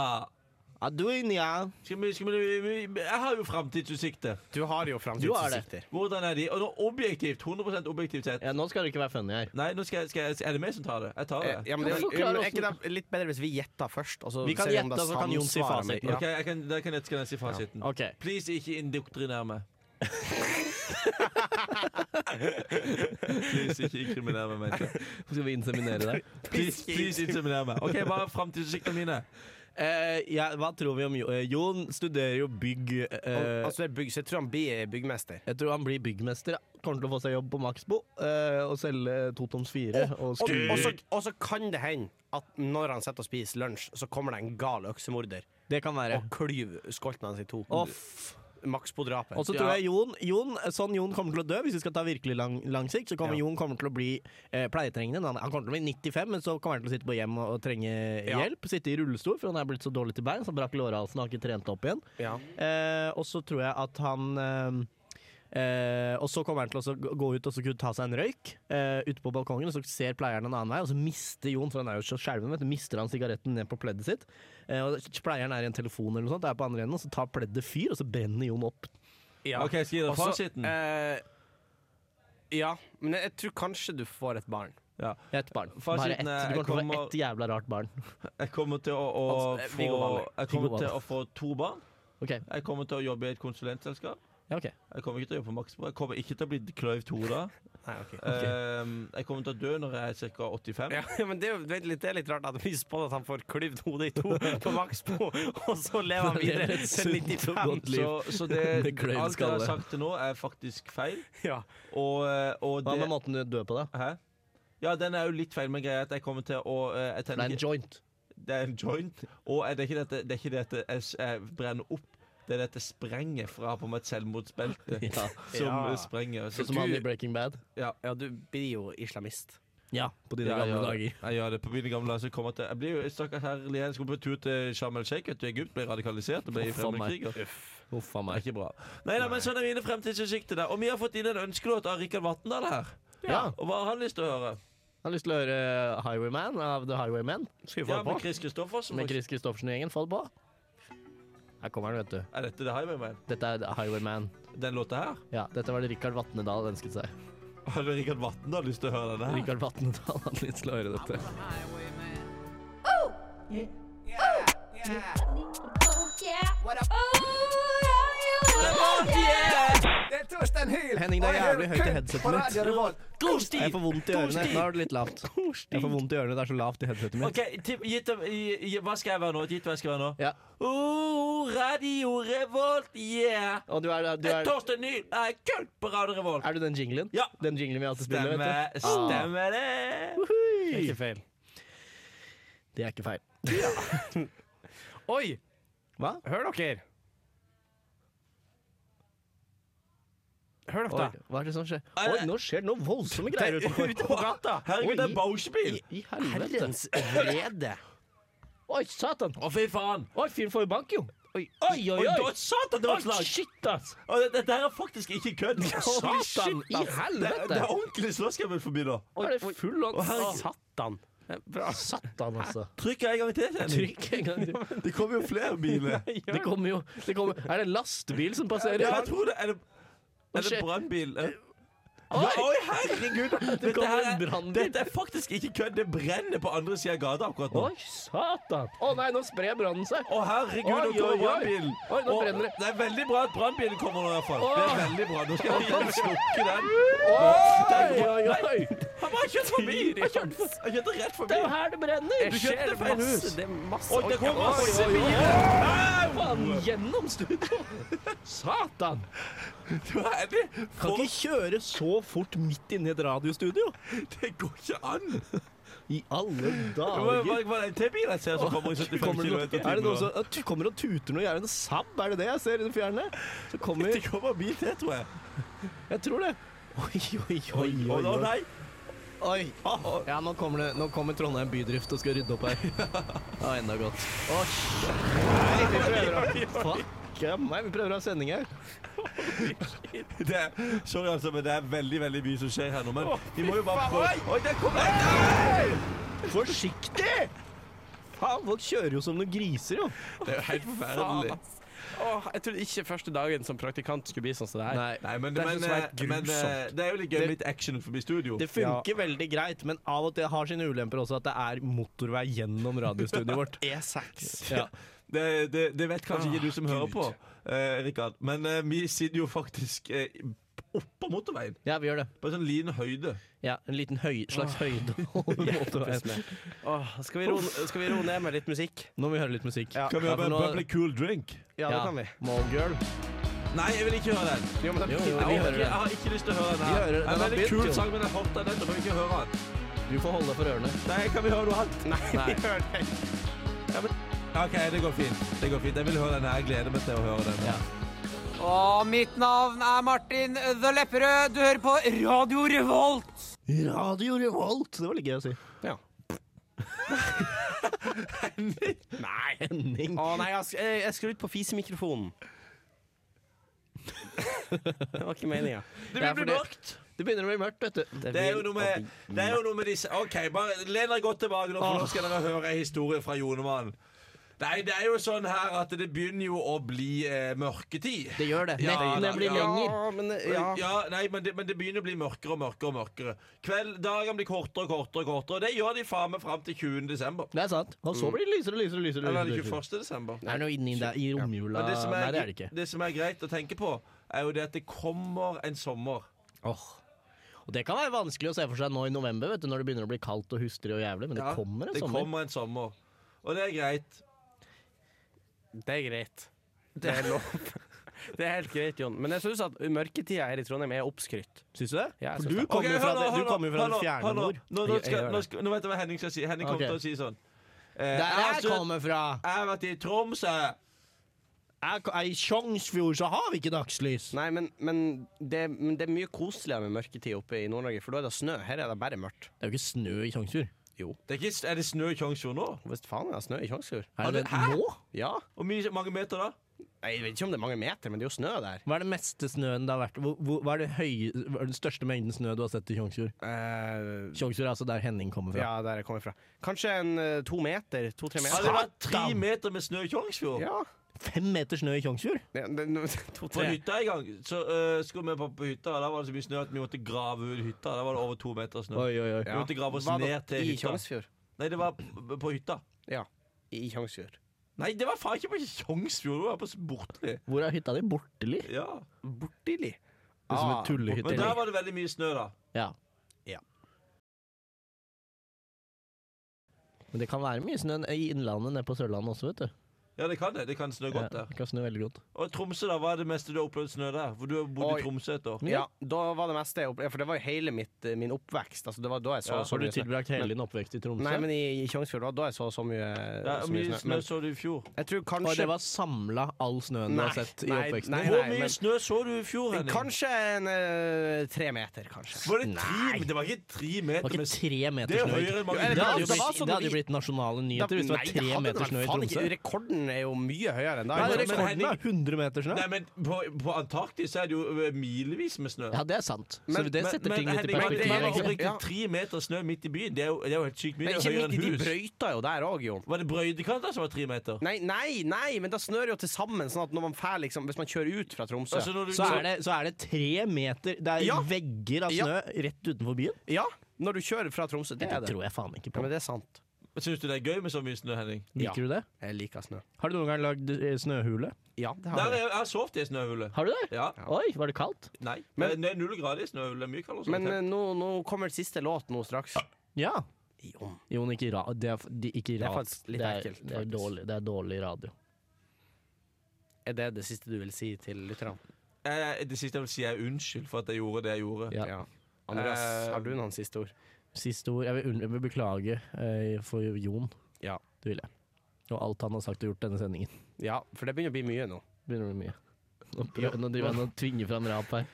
Adonia.
Skal vi, skal vi, vi- vi- jeg har jo framtidsutsikter.
Du har jo framtidsutsikter. Eh,
Hvordan er de? Og nå objektivt, 100 objektivt sett
Ja, nå skal det ikke være funny her.
Nei, nå skal jeg, skal jeg, er det meg som tar det? Jeg tar det.
Eh, Ja, men det,
Forklar
ja, men
oss
er ikke det litt bedre hvis vi gjetter først? og så
Vi kan
ser om
gjette,
det
og så kan Jon si
samsvarer med-
fasiten.
Ja.
Ok, jeg kan, Der kan jeg, skal jeg si fasiten.
Ok.
Please, ikke indoktrinere meg. please, ikke inkriminere meg, mente jeg.
Skal vi inseminere deg?
Please, please inseminere meg. OK, hva er framtidsutsiktene mine?
Eh, ja, hva tror vi om Jo- eh, Jon? studerer jo bygg eh,
Og- altså, det er bygg, så jeg tror han blir byggmester.
Jeg tror han blir byggmester. ja. Kommer til å få seg jobb på Maxbo eh, og selge Totoms 4. og
Og,
skru-
og, så, og så kan det hende at når han sitter og spiser lunsj, så kommer det en gal øksemorder
Det kan være.
og klyver skolten hans i to.
Off.
Maks på drapet.
Og så tror jeg Jon, Jon Sånn Jon kommer til å dø, hvis vi skal ta virkelig lang, lang sikt, så kommer
Ja.
Jon kommer til å bli eh, pleietrengende. Han, han kommer til å bli 95, men så kommer han til å sitte på hjem og, og trenge
Ja.
hjelp. Sitte i rullestol, for han er blitt så dårlig til bein, så han brakk lårhalsen og har ikke trent opp igjen.
Ja.
Eh, og så tror jeg at han eh, eh, og så kommer han til å så gå- gå ut og så kunne ta seg en røyk eh, ute på balkongen. Og så ser pleieren en annen vei, og så mister Jon for han er jo så skjelven, vet du, mister han sigaretten ned på pleddet sitt. Eh, og Pleieren er i en telefon, eller noe sånt, er på andre enden, og så tar pleddet fyr, og så brenner Jon opp.
Ja.
Ok, skal jeg gi deg
Og så,
fasiten?
eh, ja, men jeg, jeg tror kanskje du får et barn.
Ja.
Ett barn. Bare ett.
Fasiten er-
Du kommer til å få
eh, kommer-
ett jævla rart barn.
Jeg kommer til å, å
Altså, eh,
få
Viggo Valle.
Jeg
Viggo
kommer
Valle.
til å få to barn.
Ok,
Jeg kommer til å jobbe i et konsulentselskap.
ja, ok.
Jeg kommer ikke til å jobbe på Maxbo. Jeg kommer ikke til å bli kløyvd hode.
Nei, ok.
Ehm, jeg kommer til å dø når jeg er ca. 85.
Ja, men det er, jo- det er litt, det er litt rart at vi spådde at han får klyvd hodet i to på Maxbo, og så lever han
Det er
videre
et
til
sunt og
95.
godt liv.
Så, så det,
Det klør i
alt jeg har
skallet.
sagt til nå, er faktisk feil.
Ja.
Og, eh, og
Hva
det
med måten du dør på, da?
Hæ? Ja, den er jo litt feil, men greia er at jeg kommer til å eh, jeg
Det
tenner
er en
ikke,
joint.
Det er en joint. Og eh, det er ikke det at, det er ikke det at jeg, s- jeg brenner opp, det er det at jeg sprenger fra på meg et selvmordsbelte som
Ja.
eh, sprenger. Så,
Sånn som han i Breaking Bad.
ja, du blir jo islamist.
Ja, på dine
Ja, jeg
gamle
gjør det.
dager.
Jeg gjør det på mine gamle dager. så kommer jeg til Jeg blir jo jeg stakkars herlig. Jeg skulle på tur til Sharm el Sheikh, vet du, i Egypt. Ble radikalisert og ble
Uff a meg.
fremmedkriger.
Huff a
Det er
meg.
ikke bra. Nei, nei, men sånn er mine fremtidsutsikter. der. Og vi har fått inn en ønskelåt av Rikard Vatndal her.
Ja.
Og hva har han lyst til å høre?
Jeg har lyst til å høre eh, Highwayman av The Highwaymen. Skal
Ja, med Chris Kristoffersen.
Med
for-
Chris Kristoffersen og gjengen. Få det på. Her kommer den, vet du.
Er dette The Highwayman?
Dette er The Highwayman.
Den låta her?
Ja, dette var det Rikard Vatnedal ønsket seg.
Hadde Rikard Vatndal lyst til å høre denne? her?
Rikard Vatnedal hadde lyst til å høre dette.
Oh,
Henning, det er jævlig høyt i headsetet mitt. Jeg får vondt i ørene. Nå er det litt lavt. Jeg får vondt i ørene, det er så lavt i headsetet mitt.
OK, tipp, gitt dem, i, i, hva skal jeg være nå? Gitt hva jeg skal være nå?
Ja.
Oh, Radio Revolt, yeah!
Og du er, du er,
Torstein Nyhl er kult på Radio Revolt.
er du den jinglen?
Ja.
Den jinglen vi alltid spiller, vet Ah.
Stemmer, stemmer det?
du.
Ikke feil.
Det er ikke feil.
Oi!
Hva?
Hør dere! Hør
Oi,
dere!
hva er det som skjer? Oi, nå skjer det noe voldsomme greier utenfor.
Ute på gata!
Herregud, det er en
I,
Bausch-bil!
I helvete.
Herrens vrede.
Oi, satan.
Å, fy faen!
Oi, fyren får jo bank, jo. Oi, oi, oi.
Oi,
oi.
da- Satan, det var
Oi,
et slag!
shit, ass.
Og det- Dette her er faktisk ikke kødd.
Holy shit, i
ass. Det,
helvete.
det er ordentlig slåsskamp forbi nå.
Er det full og
Satan.
Satan, altså.
Trykk en gang til. Henning.
Trykk en gang til.
Det kommer jo flere biler.
Det kommer jo det kommer, Er det en lastebil som passerer?
Ja, jeg tror det. Er det, er
skjer?
det brannbil? Oi, oi herregud! Dette,
kommer
her,
en brannbil.
er- dette er faktisk ikke kødd. Det brenner på andre sida av gata akkurat nå.
Oi, satan! Å nei, nå sprer brannen seg.
Å, herregud,
Oi,
nå kommer
oi, oi.
brannbilen.
Oi, nå
Å,
brenner det.
Det er veldig bra at brannbilen kommer nå, i hvert fall. Det er veldig bra. Nå skal vi hjem og slukke den.
Oi, oi, oi!
Han bare kjørte forbi! Han kjørte- Han kjørte rett
Det
forbi.
er jo her det brenner!
Du kjørte det feil hus.
Det er masse
Oi, det kom masse
oi, oi.
biler.
Faen, gjennom studio! Satan!
Du er ærlig.
Kan
Folk-
ikke kjøre så fort midt inne i et radiostudio!
Det går ikke an.
I alle
Hva
dager!
hva- hva er det en til bil jeg ser som kommer i 75
Kommer det,
km
noe,
i
er det noen
timen?
som at du kommer og tuter noe? Er det en Saab? Er det det jeg ser i det fjerne? Så kommer
Det kommer en bil til, tror jeg.
Jeg tror det. Oi, oi, oi.
Å,
oi, oi.
nei.
oi. Ja, nå kommer, det, nå kommer Trondheim bydrift og skal rydde opp her. Ja, enda godt. Å, shit. vi prøver å Fuck meg, vi prøver å ha sending her.
Det er, sorry, altså, men det er veldig veldig mye som skjer her nå. Men vi må jo bare prøve. Oi, der kommer
Forsiktig! Faen, folk kjører jo som noen griser, jo.
Det er jo helt forferdelig. Åh, jeg trodde ikke første dagen som praktikant skulle bli sånn som det her.
Nei.
Nei, men,
Det er
men,
så svært
eh, men eh, det er jo litt gøy med litt action forbi studio.
Det funker veldig greit, men av og til har sine ulemper også at det er motorvei gjennom radiostudioet vårt.
E
E6.
Ja.
Det, det, det vet kanskje ikke du som hører på, eh, Rikard, men eh, vi sitter jo faktisk eh, oppå motorveien.
ja, vi gjør det.
På en sånn liten høyde.
Ja, En liten høy, slags høyde over motorveien.
Åh, skal, vi ro, skal vi ro ned med litt musikk?
Nå må vi høre litt musikk.
Ja.
Kan vi ha
for
en
nå-
bubbly cool drink?
Ja, det
Ja.
kan vi.
Mallgirl.
Nei, jeg vil ikke høre den.
Jo, men da-
Jo, jo,
Jeg,
vi
orker-
hører
jeg
den.
har ikke lyst til å høre den.
Vi hører den. Den
her. Det er en
har
veldig
begynt,
kul
jo.
sang, men jeg hørte den nettopp. Jeg vil ikke høre den.
Du får holde deg for ørene.
Nei, kan vi høre noe annet?
Nei,
Nei.
vi gjør det.
OK, det går fint. Det går fint. Jeg vil høre den her. Jeg gleder meg til å høre den.
Og mitt navn er Martin The Lepperød. Du hører på Radio Revolt.
Radio Revolt! Det var litt gøy å si.
Nei.
Henning.
Å nei, jeg, sk- jeg, jeg skrur ut på fisemikrofonen. det var ikke meninga.
Det
Ja,
vil
for
bli mørkt.
Det begynner å bli mørkt, vet du.
Det er jo noe med, det er jo noe med disse OK, bare len dere godt tilbake nå, for nå skal dere høre en historie fra Jonemann. Nei, det er jo sånn her at det begynner jo å bli eh, mørketid.
Det gjør det.
Ja,
Nettene
da,
blir
ja.
lenger.
men
Ja, nei, men det, men det begynner å bli mørkere og mørkere. og mørkere Kveld, Dagene blir kortere og kortere, og kortere og det gjør de faen meg fram til 20. desember.
Det er sant. Og
Mm.
så blir det lysere og lysere. og lysere,
Eller
lysere,
er det
lysere.
21. desember?
Det er noe inni der i romjula.
Men det som,
Nei,
er,
det er det ikke.
det som er greit å tenke på, er jo det at det kommer en sommer.
Åh. Og Det kan være vanskelig å se for seg nå i november, vet du, når det begynner å bli kaldt og hustrig og jævlig, men det
Ja,
kommer en
det
sommer.
kommer en sommer. Og det er greit.
Det er greit. Det er lov. Det er helt greit, Jon. Men jeg syns at mørketida her i Trondheim er oppskrytt.
Syns du det?
Ja, jeg
for
synes
du
det.
kommer jo
Ok,
fra,
hør nå,
det,
hør
du
nå,
kommer jo fra
hør
det
nå,
fjerne
hør nå.
nord.
Nå, nå,
Jeg- jeg
skal,
gjør
nå,
det.
skal, nå vet jeg hva Henning skal si. Henning
Ok.
kommer til å si sånn. eh,
Der
jeg,
jeg
så,
kommer fra!
jeg har vært i eh. Tromsø.
Jeg, ko- I Tjongsfjord så har vi ikke dagslys!
Nei, men, men, det, men det er mye koseligere med mørketid oppe i Nord-Norge, for da er det snø. Her er det bare mørkt.
Det er jo ikke snø i Tjongsfjord.
Det er, ikke, er det snø i Tjongsfjord nå?
Hvis faen er det snø i Tjongsfjord?
Er det nå?
Ja.
Hvor mye, mange meter da?
Nei, Jeg vet ikke om det er mange meter, men det er jo snø der.
Hva er det meste snøen det har vært? Hvor, hvor, hva er det høye, hva er den største mengden snø du har sett i Tjongsfjord?
Eh,
Tjongsfjord er altså der Henning kommer fra.
ja, der jeg kommer fra. Kanskje en eh, to meter? To-tre
Har det
meter?
vært tre meter med snø i Tjongsfjord?
Ja.
Fem meter snø i Tjongsfjord?
Det- det- det-
På
To-tre.
hytta en gang så eh, skulle vi på, på hytta, og da var det så mye snø at vi måtte grave ut hytta. Da var det over to meter snø.
Oi, oi, oi.
Vi måtte grave oss
Var det
ned til
I
hytta.
Tjongsfjord?
Nei, det var p- på hytta.
Ja. I Tjongsfjord.
Nei, det var faen ikke på Tjongsfjord, det var på Bortli.
Hvor er hytta di? Borteli?
Ja.
Bortili.
Det er som
Ah,
en tullehytte.
Men der var det veldig mye snø, da.
Ja.
Ja.
Men det kan være mye snø i Innlandet nede på Sørlandet også, vet du.
Ja, det kan det. Det kan snø godt
Ja,
der.
det kan snø veldig godt.
Og Tromsø, da, hva er det meste du har opplevd snø der? For du har bodd
Oi.
i Tromsø et år.
Ja, da var det meste jeg opplevde, for det var jo hele mitt, eh, min oppvekst. Altså, det var da jeg så
Ja,
så
Har du
mye snø.
tilbrakt hele din oppvekst i Tromsø?
Nei, men i, i Tjongsfjord var da jeg så så mye,
Ja,
så
Hvor
mye
mye
snø.
snø
Men
så du i fjor?
jeg tror
Og
kanskje
det var samla all snøen du
Nei,
har sett i
nei,
oppveksten?
nei,
din?
Hvor mye
men-
snø så du i fjor, Henning?
Kanskje en, eh, tre meter, kanskje.
Var det, tre, det var ikke tre
Det var
meter
ikke
med snø.
tre
Det
meter
er
snø. i-
høyere enn mange
Jo, er
Det
Ja,
hadde jo
det var
blitt,
sånn
det hadde
vi-
jo blitt nasjonale nyheter hvis det var
Nei,
tre
hadde
meter
vel
snø i
faen ikke-
Tromsø.
Rekorden rekorden er jo mye høyere enn da.
Nei,
ikke
men
sant?
rekorden er
100 meter snø.
Nei, men på, på Antarktis er det jo eh, milevis med snø.
Ja, det er sant. Så det setter ting litt i
Henning,
perspektiv.
Men det er altså
egentlig.
riktig tre meter snø midt i byen. Det er jo, det er jo helt sykt mye.
Men
Det er
ikke
høyere
midt i, de
enn hus.
brøyta jo der òg, jo.
Var det brøytekanter som var tre meter?
Nei, nei, nei, men da snør jo til sammen, sånn at når man fær, liksom, hvis man kjører ut fra Tromsø
Altså, når du-
Så er, det, så er det tre meter Det er
Ja.
vegger av snø rett utenfor byen.
Ja, når du kjører fra Tromsø, det
Det
er det.
tror jeg faen ikke
Ja,
på.
men det er sant.
Syns du det er gøy med så mye snø, Henning?
Ja.
Liker du det?
Jeg liker snø.
Har du noen gang lagd eh, snøhule?
Ja, det har
Der,
jeg.
jeg, jeg har sovet i et snøhule.
Har du det?
Ja.
Oi, var det kaldt?
Nei.
Men-
Men, det er null grader i snøhule. Det er Mye kaldere. som
Men
hotell.
eh, nå, nå kommer siste låt nå straks.
Ja.
Jo.
Jo, men ikke ra... Det er, f- de, ikke
er
ra
faktisk litt
det er,
ekkelt,
det er
faktisk.
dårlig, det er dårlig radio.
Er det det siste du vil si til lytterne?
Eh, Det siste jeg vil si, er unnskyld for at jeg gjorde det jeg gjorde.
Ja.
Andreas,
Eh,
har du noen siste ord?
Siste ord. Jeg vil, unn- jeg vil beklage eh, for Jon.
Ja.
Det vil jeg. Og alt han har sagt og gjort denne sendingen.
Ja, for det begynner å bli mye nå.
Begynner å bli mye. Nå prøver- nå driver han og tvinger fram rap her.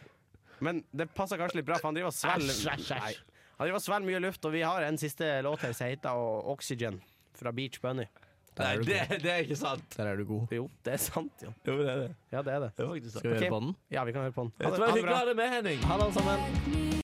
Men det passer kanskje litt bra, for han driver og
Æsj,
svelger
æsj, æsj.
Nei. Han driver og svelger mye luft, og vi har en siste låt her som heter Oxygen fra Beach Bunny.
Nei,
er du
det, det er ikke sant.
Der er du god.
Jo, det er sant, jo.
Jo, det er det.
Ja, det er det.
Det er faktisk sant.
Skal vi
Ok.
høre på den?
Ja, vi kan høre på den.
Vet du hva, hyggelig å ha deg med, Henning.
Ha det, alle sammen.